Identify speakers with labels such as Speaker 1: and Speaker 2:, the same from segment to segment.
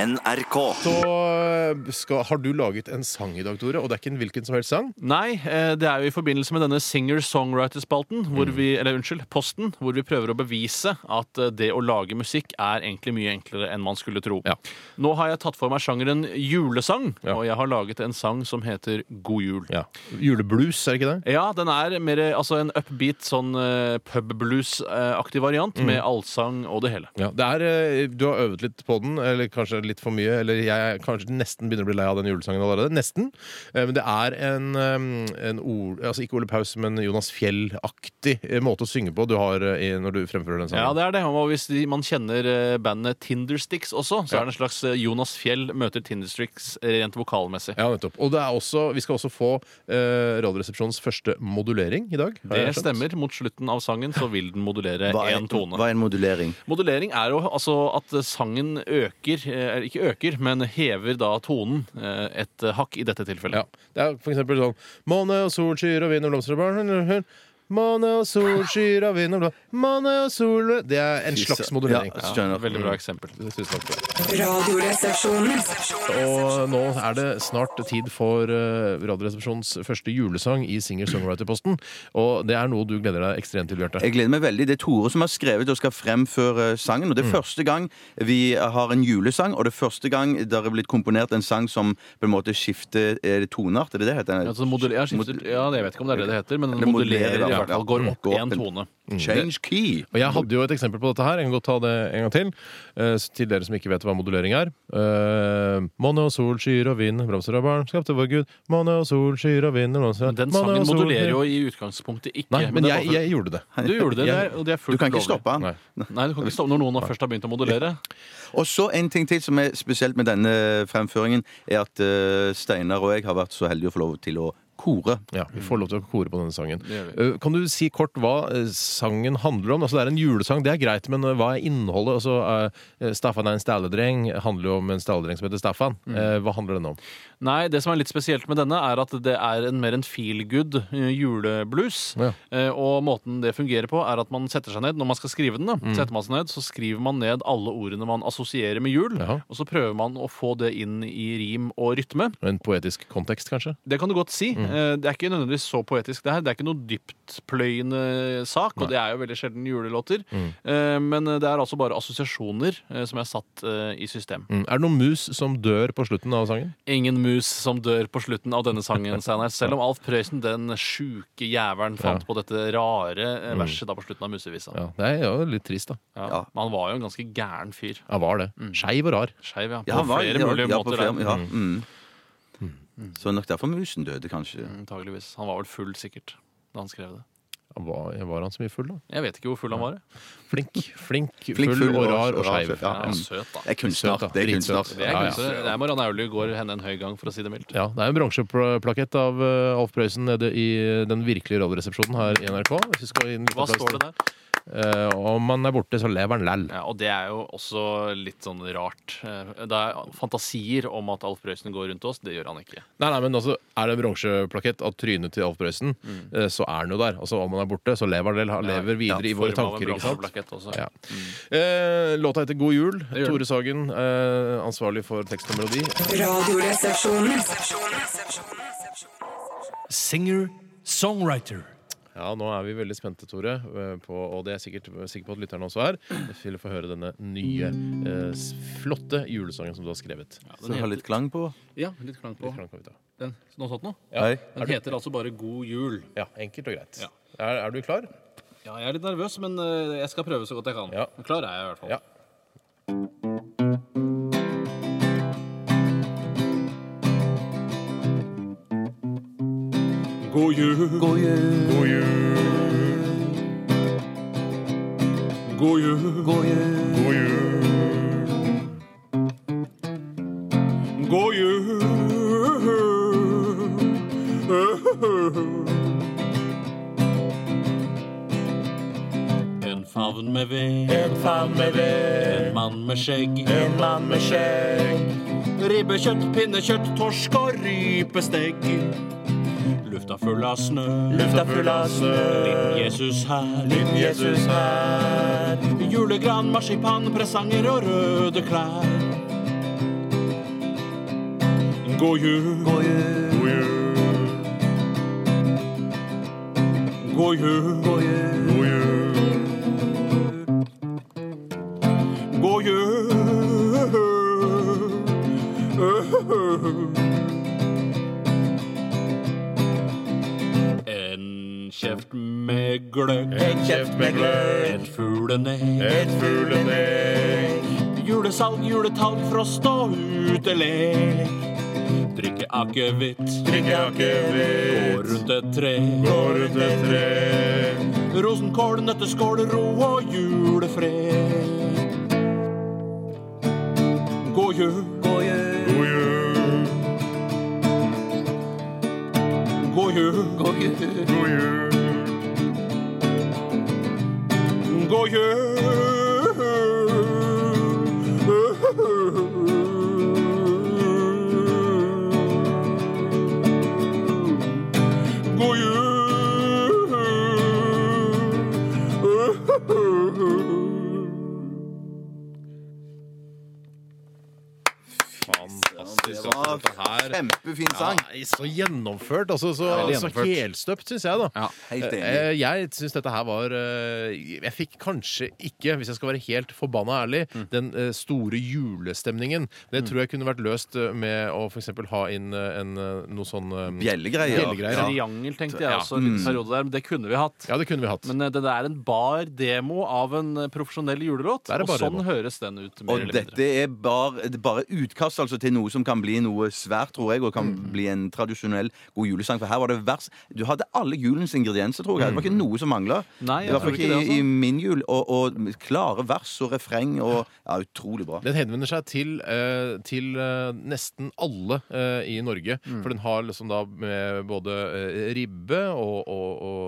Speaker 1: NRK.
Speaker 2: Så eh, skal, har du laget en sang i dag, Tore, og det er ikke en hvilken som helst sang.
Speaker 3: Nei, eh, det er jo i forbindelse med denne singer-songwriter-spalten,
Speaker 2: Mm.
Speaker 3: hvor vi, eller unnskyld, posten, hvor vi prøver å bevise at eh, det å lage musikk er egentlig mye enklere enn man skulle tro.
Speaker 2: Ja.
Speaker 3: Nå har jeg tatt for meg sjangeren julesang, og jeg har laget en sang som heter God jul.
Speaker 2: Ja. Juleblues, er det ikke det?
Speaker 3: Ja, den er mer eh, altså en upbeat, sånn eh, pubblues-aktig variant med
Speaker 2: Mm.
Speaker 3: allsang og det hele.
Speaker 2: Ja, det er, eh, Du har øvet litt på den, eller kanskje litt for mye. Eller jeg er kanskje nesten begynner å bli lei av den julesangen allerede. Nesten. Eh, Men det er en, eh, en Ol- altså ikke Ole Paus, men Jonas Fjell-aktig eh, måte å synge på du har eh, i- når du fremfører den sangen.
Speaker 3: Ja, det er det. Og hvis de, man kjenner eh, bandet Tindersticks også, så er det en slags eh, Jonas Fjell møter Tindersticks eh, rent vokalmessig.
Speaker 2: Ja, nettopp. Og det er også, vi skal også få eh, Radioresepsjonens første modulering i dag. har
Speaker 3: Det
Speaker 2: jeg skjønt.
Speaker 3: stemmer. Mot slutten av sangen så vil den modulere
Speaker 1: Hva er,
Speaker 3: én tone.
Speaker 1: hva er en modulering?
Speaker 3: Modulering er jo altså at sangen øker, eh, eller ikke øker, men hever da tonen eh, et eh, hakk i dette
Speaker 2: Ja.
Speaker 3: tilfellet.
Speaker 2: Det er for eksempel sånn Måne og sol, skyer og vind og blomster og barn Måne og sol, skyer og vind og blomster Måne og sol Det er en slags modulering.
Speaker 1: Ja, skjønner.
Speaker 3: Veldig bra eksempel.
Speaker 2: Det synes jeg også.
Speaker 4: Radioresepsjonen.
Speaker 2: Og nå er det snart tid for eh, Radioresepsjonens første julesang i Singer-songwriter-posten. Og det er noe du gleder deg ekstremt til, Bjarte.
Speaker 1: Jeg gleder meg veldig. Det er Tore som har skrevet og skal fremføre sangen. Og det er første gang vi har en julesang, og det er første gang det er blitt komponert en sang som på en måte skifter eh, toneart. Er det det heter?
Speaker 3: Altså, modul- ja, skifter,
Speaker 1: Mod-
Speaker 3: ja, jeg vet ikke om det er det det heter, men
Speaker 1: Eller
Speaker 3: den modulerer i
Speaker 1: modulerer, ja.
Speaker 3: hvert fall. Går opp
Speaker 1: Går opp
Speaker 3: én
Speaker 1: en- Mm.
Speaker 3: tone.
Speaker 1: Change key.
Speaker 2: Og Jeg hadde jo et eksempel på dette her. Jeg kan godt ta det en gang til. Eh, til dere som ikke vet hva modulering er. Eh, Måne og sol, skyer og vind, blomster og barn skapte vår Gud. Måne og sol, skyer og vind og blomster
Speaker 3: Men altså, Den
Speaker 2: Måne og
Speaker 3: sangen
Speaker 2: sol,
Speaker 3: modulerer
Speaker 2: skyer-
Speaker 3: jo i utgangspunktet ikke.
Speaker 2: Nei, men
Speaker 3: det
Speaker 2: jeg,
Speaker 3: var-
Speaker 2: jeg gjorde det.
Speaker 3: Du gjorde det, det er, og det er
Speaker 1: Du
Speaker 3: fullt
Speaker 1: kan ikke
Speaker 3: lovlig.
Speaker 1: stoppe
Speaker 2: Nei.
Speaker 1: han.
Speaker 3: Nei, du kan ikke stoppe når noen har først har begynt å modulere.
Speaker 1: Og så en ting til som er spesielt med denne fremføringen, er at eh, Steinar og jeg har vært så heldige å få lov til å kore.
Speaker 2: Ja, Vi får lov til å kore på denne sangen.
Speaker 3: Det
Speaker 2: Eh, Kan du si kort hva eh, sangen handler om? Altså Det er en julesang, det er greit, men eh, hva er innholdet? Altså, eh, Staffan er en stalledreng handler jo om en stalledreng som heter Staffan. Eh, Hva handler den om?
Speaker 3: Nei, det som er litt spesielt med denne, er at det er en mer en feel good eh, juleblues.
Speaker 2: Ja.
Speaker 3: Eh, Og måten det fungerer på, er at man setter seg ned når man skal skrive den. Da, setter man seg ned, Så skriver man ned alle ordene man assosierer med jul,
Speaker 2: Jaha.
Speaker 3: og så prøver man å få det inn i rim og rytme.
Speaker 2: En poetisk kontekst, kanskje?
Speaker 3: Det kan du godt si. Eh, Det er ikke nødvendigvis så poetisk, det her. Det er ikke noe dyptpløyende sak, og det er jo veldig sjelden julelåter. Eh, Men det er altså bare assosiasjoner eh, som er satt eh, i system.
Speaker 2: Mm. Er det noen mus som dør på slutten av sangen?
Speaker 3: Ingen mus som dør på slutten av denne sangen, Steinar. Selv om Alf Prøysen, den sjuke jævelen, fant på dette rare eh, verset da på slutten av Musevisa. Ja.
Speaker 2: Ja, Det er jo litt trist, da.
Speaker 1: Ja.
Speaker 3: Men han var jo en ganske gæren fyr.
Speaker 2: Ja, var det. Skeiv og rar.
Speaker 3: Skeiv, ja. På
Speaker 1: Ja, han var-
Speaker 3: flere
Speaker 1: ja,
Speaker 3: mulige
Speaker 1: ja, på
Speaker 3: måter. Mm.
Speaker 1: flere-
Speaker 3: der.
Speaker 1: Ja. Mm. Så nok derfor musen døde, kanskje.
Speaker 3: Antageligvis. Han var vel full, sikkert, da han skrev det.
Speaker 2: Ja, Var, var han så mye full, da?
Speaker 3: Jeg vet ikke hvor full han var. jeg.
Speaker 2: Flink, flink,
Speaker 1: Flink,
Speaker 2: full, og rar og skeiv.
Speaker 1: Ja,
Speaker 3: Han er
Speaker 1: mm.
Speaker 3: søt, da.
Speaker 1: Det er kunstner.
Speaker 2: Søt, da.
Speaker 1: Det er kunstner.
Speaker 2: Dritsøt.
Speaker 3: Det er
Speaker 2: Ja, ja.
Speaker 3: kunstner. Det er Marianne Aulie går henne en høy gang, for å si det mildt.
Speaker 2: Ja, Det er en bronseplakett av eh, Alf Prøysen nede i eh, den virkelige Radioresepsjonen her i NRK. Hvis vi skal gi en liten
Speaker 3: Hva
Speaker 2: applaus
Speaker 3: står det der?
Speaker 2: Eh, om han er borte, så lever han læll.
Speaker 3: Ja, og det er jo også litt sånn rart. Eh, Det er fantasier om at Alf Prøysen går rundt oss. Det gjør han ikke.
Speaker 2: Nei, nei, men altså, Er det en bronseplakett av trynet til Alf Prøysen,
Speaker 3: Mm.
Speaker 2: eh, så er han jo der. Altså, Om han er borte, så lever han læll. Han lever videre i våre
Speaker 3: Form av en
Speaker 2: tanker. ikke sant?
Speaker 3: bronseplakett også.
Speaker 2: Ja. Eh, låta heter God jul.
Speaker 3: gjør den.
Speaker 2: Tore Sagen, eh, ansvarlig for tekst og melodi.
Speaker 4: Radioresepsjonen.
Speaker 5: Singer-songwriter.
Speaker 2: Ja, Nå er vi veldig spente, Tore, eh, på, og det er jeg sikkert eh, sikker på at lytterne også er, til å få høre denne nye, eh, s- flotte julesangen som du har skrevet.
Speaker 1: Så jeg har litt klang på.
Speaker 3: Ja, litt klang på.
Speaker 2: Kan vi ta?
Speaker 3: Den, noe sånt noe?
Speaker 1: Hei.
Speaker 3: Den heter altså bare God jul.
Speaker 2: Ja, Enkelt og greit.
Speaker 3: Ja.
Speaker 2: Er, er du klar?
Speaker 3: Ja, jeg er litt nervøs, men eh, jeg skal prøve så godt jeg kan.
Speaker 2: Ja.
Speaker 3: Klar er jeg i hvert fall.
Speaker 2: Ja.
Speaker 5: God jul,
Speaker 1: God jul,
Speaker 2: God jul,
Speaker 5: god jul,
Speaker 1: god
Speaker 2: god jul.
Speaker 1: jul,
Speaker 5: god jul. En favn med ved, en favn med ved. En mann med skjegg, en mann med skjegg. Ribbekjøtt, pinnekjøtt, torsk og rypestegg. Lufta full av snø, lufta full av snø. Liten Jesus her, liten Jesus her. Julegran, marsipan, presanger og røde klær. God jul. God jul. God jul. God jul. God jul. En kjeft med gløgg. En kjeft med gløgg. Et fuglenek. Et fuglenek. Julesalg, juletalg, frost og utelek. Drikke akevitt. Drikke akevitt. Gå rundt et tre. Gå rundt et tre. Rosenkål, nøtteskål, ro og julefred. God jul. God jul. God jul. God jul. God jul. God jul. God jul.
Speaker 2: Fantastisk.
Speaker 1: Det var
Speaker 2: altså, dette her-
Speaker 1: Kjempefin sang.
Speaker 2: Ja, så gjennomført, altså. Så,
Speaker 3: veldig
Speaker 2: altså
Speaker 3: gjennomført.
Speaker 2: helstøpt, syns jeg, da.
Speaker 3: Ja,
Speaker 1: helt enig.
Speaker 2: Eh, Jeg syns dette her var eh, Jeg fikk kanskje ikke, hvis jeg skal være helt forbanna ærlig, den eh, store julestemningen. Det tror jeg kunne vært løst eh, med å f.eks. ha inn eh, en, eh, noe sånn eh,
Speaker 1: Bjellegreier.
Speaker 2: Bjellegreier,
Speaker 1: Ja.
Speaker 3: Triangel tenkte jeg
Speaker 2: Ja.
Speaker 3: også en
Speaker 5: Mm.
Speaker 3: liten periode der, men det kunne vi hatt.
Speaker 2: Ja, det kunne vi hatt.
Speaker 3: Men eh, det er en bar demo av en eh, profesjonell julelåt,
Speaker 2: Det er en
Speaker 3: og
Speaker 2: bar
Speaker 3: sånn
Speaker 2: demo.
Speaker 3: høres den ut. mer
Speaker 1: Og
Speaker 3: eller mindre.
Speaker 1: dette er bare, det er bare utkast altså, til noe som kan bli noe svært, tror jeg, og kan bli en tradisjonell god julesang. For her var det vers Du hadde alle julens ingredienser, tror jeg. Det var ikke noe som mangla.
Speaker 3: Nei, jeg
Speaker 1: I hvert fall
Speaker 3: tror
Speaker 1: ikke
Speaker 3: ikke det, altså.
Speaker 1: i, i min jul. Og, og klare vers og refreng og Ja, utrolig bra.
Speaker 2: Den henvender seg til, eh, til eh, nesten alle eh, i Norge.
Speaker 3: Mm.
Speaker 2: For den har liksom da med både eh, ribbe og, og, og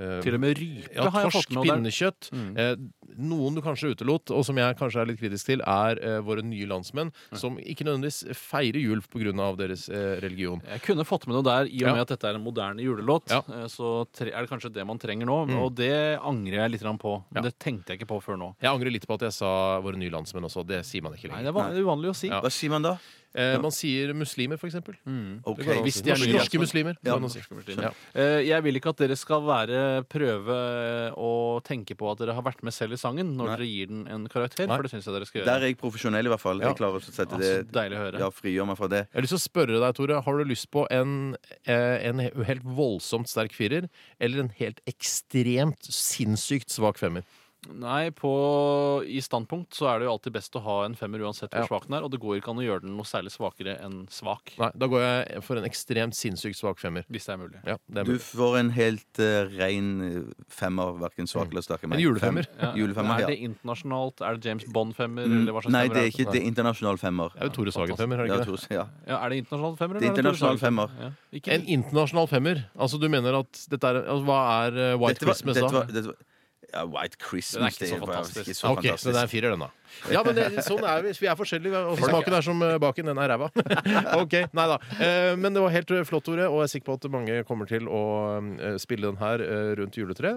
Speaker 2: eh,
Speaker 3: Til og med rype
Speaker 2: ja,
Speaker 3: har jeg
Speaker 2: torsk,
Speaker 3: fått med. Mm. og det er-
Speaker 2: pinnekjøtt. Eh, noen du kanskje utelot, og som jeg kanskje er litt kritisk til, er eh, våre nye landsmenn, som ikke nødvendigvis feirer jul pga. deres eh, religion.
Speaker 3: Jeg kunne fått med noe der, i
Speaker 2: Ja.
Speaker 3: og med at dette er en moderne julelåt.
Speaker 2: Ja. Mm.
Speaker 3: eh, Så tre er det kanskje det man trenger nå, og det angrer jeg litt grann på. Men det tenkte jeg ikke på før nå.
Speaker 2: Jeg angrer litt på at jeg sa våre nye landsmenn også. Det sier man ikke
Speaker 3: Nei,
Speaker 2: lenger.
Speaker 3: det var uvanlig å si.
Speaker 2: Ja.
Speaker 1: Hva sier man da?
Speaker 2: Eh, man sier muslimer, for eksempel.
Speaker 3: Mm.
Speaker 1: Ok.
Speaker 2: Hvis de er
Speaker 3: Norske
Speaker 2: norske,
Speaker 3: landsmenn.
Speaker 2: muslimer.
Speaker 1: Ja,
Speaker 2: kan man si.
Speaker 1: norske
Speaker 2: Ja.
Speaker 3: Eh, Jeg vil ikke at dere skal være prøve eh, å tenke på at dere har vært med selv i sangen når
Speaker 1: Nei.
Speaker 3: dere gir den en karakter,
Speaker 2: Nei.
Speaker 3: for det syns jeg dere skal
Speaker 1: Der
Speaker 3: gjøre.
Speaker 1: er jeg profesjonell, i hvert fall.
Speaker 2: Ja.
Speaker 1: Jeg klarer å sette
Speaker 3: Ja,
Speaker 1: det
Speaker 3: så deilig å høre.
Speaker 1: Ja, frigjør meg fra det.
Speaker 2: Jeg har lyst til å spørre deg, Tore. Har du lyst på en, eh, en he- helt voldsomt sterk firer eller en helt ekstremt sinnssykt svak femmer?
Speaker 3: Nei, på, i standpunkt så er det jo alltid best å ha en femmer uansett hvor
Speaker 2: Ja.
Speaker 3: svak den er, og det går ikke an å gjøre den noe særlig svakere enn svak,
Speaker 2: Nei, da går jeg for en ekstremt sinnssykt svak femmer.
Speaker 3: hvis det er mulig.
Speaker 2: Ja, det er
Speaker 1: Du
Speaker 2: mulig.
Speaker 1: får en helt uh, rein eh, femmer, hverken svak eller sterk. jeg
Speaker 2: Mm.
Speaker 1: mener.
Speaker 2: En julefemmer.
Speaker 1: Fem- Julefemmer,
Speaker 3: er
Speaker 1: ja.
Speaker 3: det internasjonalt? Er det James Bond-femmer?
Speaker 1: Mm,
Speaker 3: eller hva slags
Speaker 1: Nei,
Speaker 3: femmer
Speaker 1: det er
Speaker 3: det?
Speaker 1: ikke det er internasjonal femmer.
Speaker 2: Det er jo Tore Sagen-femmer, er det
Speaker 1: Ja,
Speaker 2: ikke det?
Speaker 1: Tore, ja.
Speaker 3: Ja, er det internasjonal femmer?
Speaker 1: Det er
Speaker 3: eller det
Speaker 1: internasjonal
Speaker 3: Tore Sagen?
Speaker 1: femmer.
Speaker 3: Ja. Ikke
Speaker 2: En internasjonal femmer? Altså, du mener at dette er altså, Hva er eh, White
Speaker 1: Dette var-
Speaker 2: Christmas,
Speaker 1: dette
Speaker 2: da?
Speaker 1: var- dette var- ja, White Christmas
Speaker 3: Den er ikke så
Speaker 1: det var
Speaker 3: fantastisk.
Speaker 1: ikke så
Speaker 2: Ok, så
Speaker 1: fantastisk.
Speaker 2: det er en firer, den, da. Ja, men det, sånn er vi. Vi er forskjellige. Og smaken er som eh, baken. Den er ræva. ok, nei da. Eh, Men det var helt eh, flott, Tore, og jeg er sikker på at mange kommer til å eh, spille den her eh, rundt juletreet.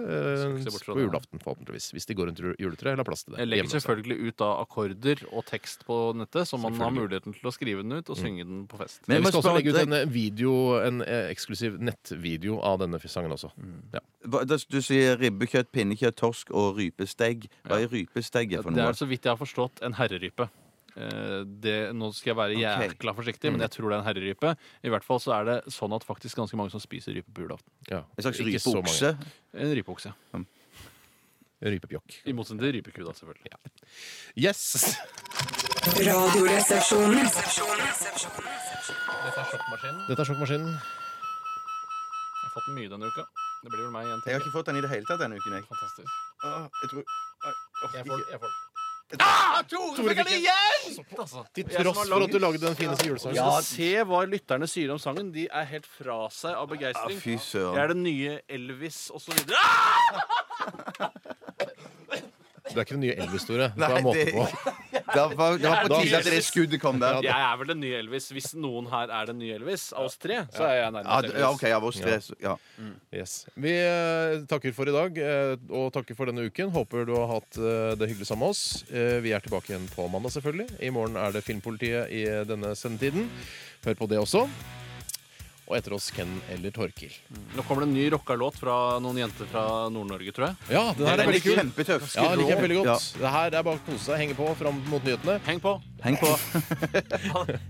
Speaker 2: eh,
Speaker 3: Skal ikke se bort fra
Speaker 2: På
Speaker 3: det.
Speaker 2: julaften, forhåpentligvis. Hvis de går rundt ru- juletreet eller har plass til det.
Speaker 3: Jeg legger
Speaker 2: hjemme hos seg.
Speaker 3: selvfølgelig ut da akkorder og tekst på nettet, så man har muligheten til å skrive den ut og synge den på fest.
Speaker 1: Mm. Men jeg
Speaker 2: Vi
Speaker 1: må
Speaker 2: skal også
Speaker 1: spørre
Speaker 2: legge ut
Speaker 1: deg-
Speaker 2: en eh, video, en eh, eksklusiv nettvideo av denne sangen også.
Speaker 3: Mm.
Speaker 2: Ja.
Speaker 1: Hva- da- Du sier ribbekjøtt, pinnekjøtt, torsk og rypesteg. Hva er rypesteg for
Speaker 3: Det
Speaker 1: noe?
Speaker 3: er så vidt jeg har forstått en herrerype. Eh, Det, nå skal jeg være
Speaker 1: Ok. Mm.
Speaker 3: jækla forsiktig, men jeg tror det er en herrerype. I hvert fall så er det sånn at faktisk ganske mange som spiser rype på julaften.
Speaker 2: Ja.
Speaker 1: En slags
Speaker 2: Ikke så mange.
Speaker 1: rypeokse?
Speaker 3: En rypeokse.
Speaker 2: Rypepjokk.
Speaker 3: I motsetning til rypeku, da, selvfølgelig.
Speaker 2: Yes!
Speaker 4: Radioresepsjonen.
Speaker 3: Dette er sjokkmaskinen.
Speaker 2: Dette er Sjokkmaskinen.
Speaker 3: Jeg har fått den mye denne uka. Det blir vel meg igjen.
Speaker 1: Jeg har
Speaker 3: tenker jeg.
Speaker 1: ikke fått den i det hele tatt denne uken, jeg.
Speaker 3: Fantastisk.
Speaker 1: Åh, jeg tror... Nei, orker
Speaker 3: Jeg får
Speaker 1: ikke.
Speaker 3: den. Jeg får den.
Speaker 2: Tore fikk
Speaker 3: Altså,
Speaker 2: Til
Speaker 3: jeg som
Speaker 2: tross
Speaker 3: har
Speaker 2: for
Speaker 3: lagd-
Speaker 2: at du lagde den fineste julesangen.
Speaker 3: Ja, se hva lytterne sier om sangen. De er helt fra seg av begeistring.
Speaker 1: Ah, fy søren.
Speaker 3: Jeg er den nye Elvis osv. Ah!
Speaker 2: Du er ikke den nye Elvis-store.
Speaker 1: Nei,
Speaker 2: Det...
Speaker 1: det- Det var, det var på
Speaker 2: Ja,
Speaker 1: tide at
Speaker 2: da-
Speaker 1: det skuddet kom der.
Speaker 3: Jeg er vel den nye Elvis. Hvis noen her er den nye Elvis, av oss tre, så er jeg
Speaker 1: Ja,
Speaker 3: nærmest
Speaker 1: d- ja,
Speaker 3: Elvis.
Speaker 1: OK, av oss tre. så- Ja.
Speaker 2: Yes. Vi eh, takker for i dag eh, og takker for denne uken. Håper du har hatt eh, det hyggelig sammen med oss. Eh, vi er tilbake igjen på mandag, selvfølgelig. I morgen er det Filmpolitiet i eh, denne sendetiden. Hør på det også. Og etter oss Ken eller Torkil.
Speaker 3: Nå kommer det en ny rocka låt fra noen jenter fra Nord-Norge, tror jeg.
Speaker 2: Ja, den her
Speaker 1: Den
Speaker 2: er
Speaker 1: er
Speaker 2: veldig kul.
Speaker 1: kjempetøff.
Speaker 2: Ja, liker jeg veldig godt. Det her er bare å kose seg, henge på fram mot nyhetene.
Speaker 3: Heng på.
Speaker 1: Ja, Heng på.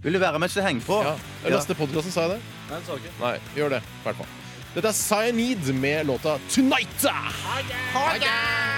Speaker 1: Vil du være med, så heng på.
Speaker 2: Ah, Ja.
Speaker 1: Ja.
Speaker 2: Laste podkasten, sa jeg det?
Speaker 3: Nei, det sa du ikke.
Speaker 2: Nei, gjør det. I hvert fall. Dette er Cyanide med låta 'Tonight'. Ha det!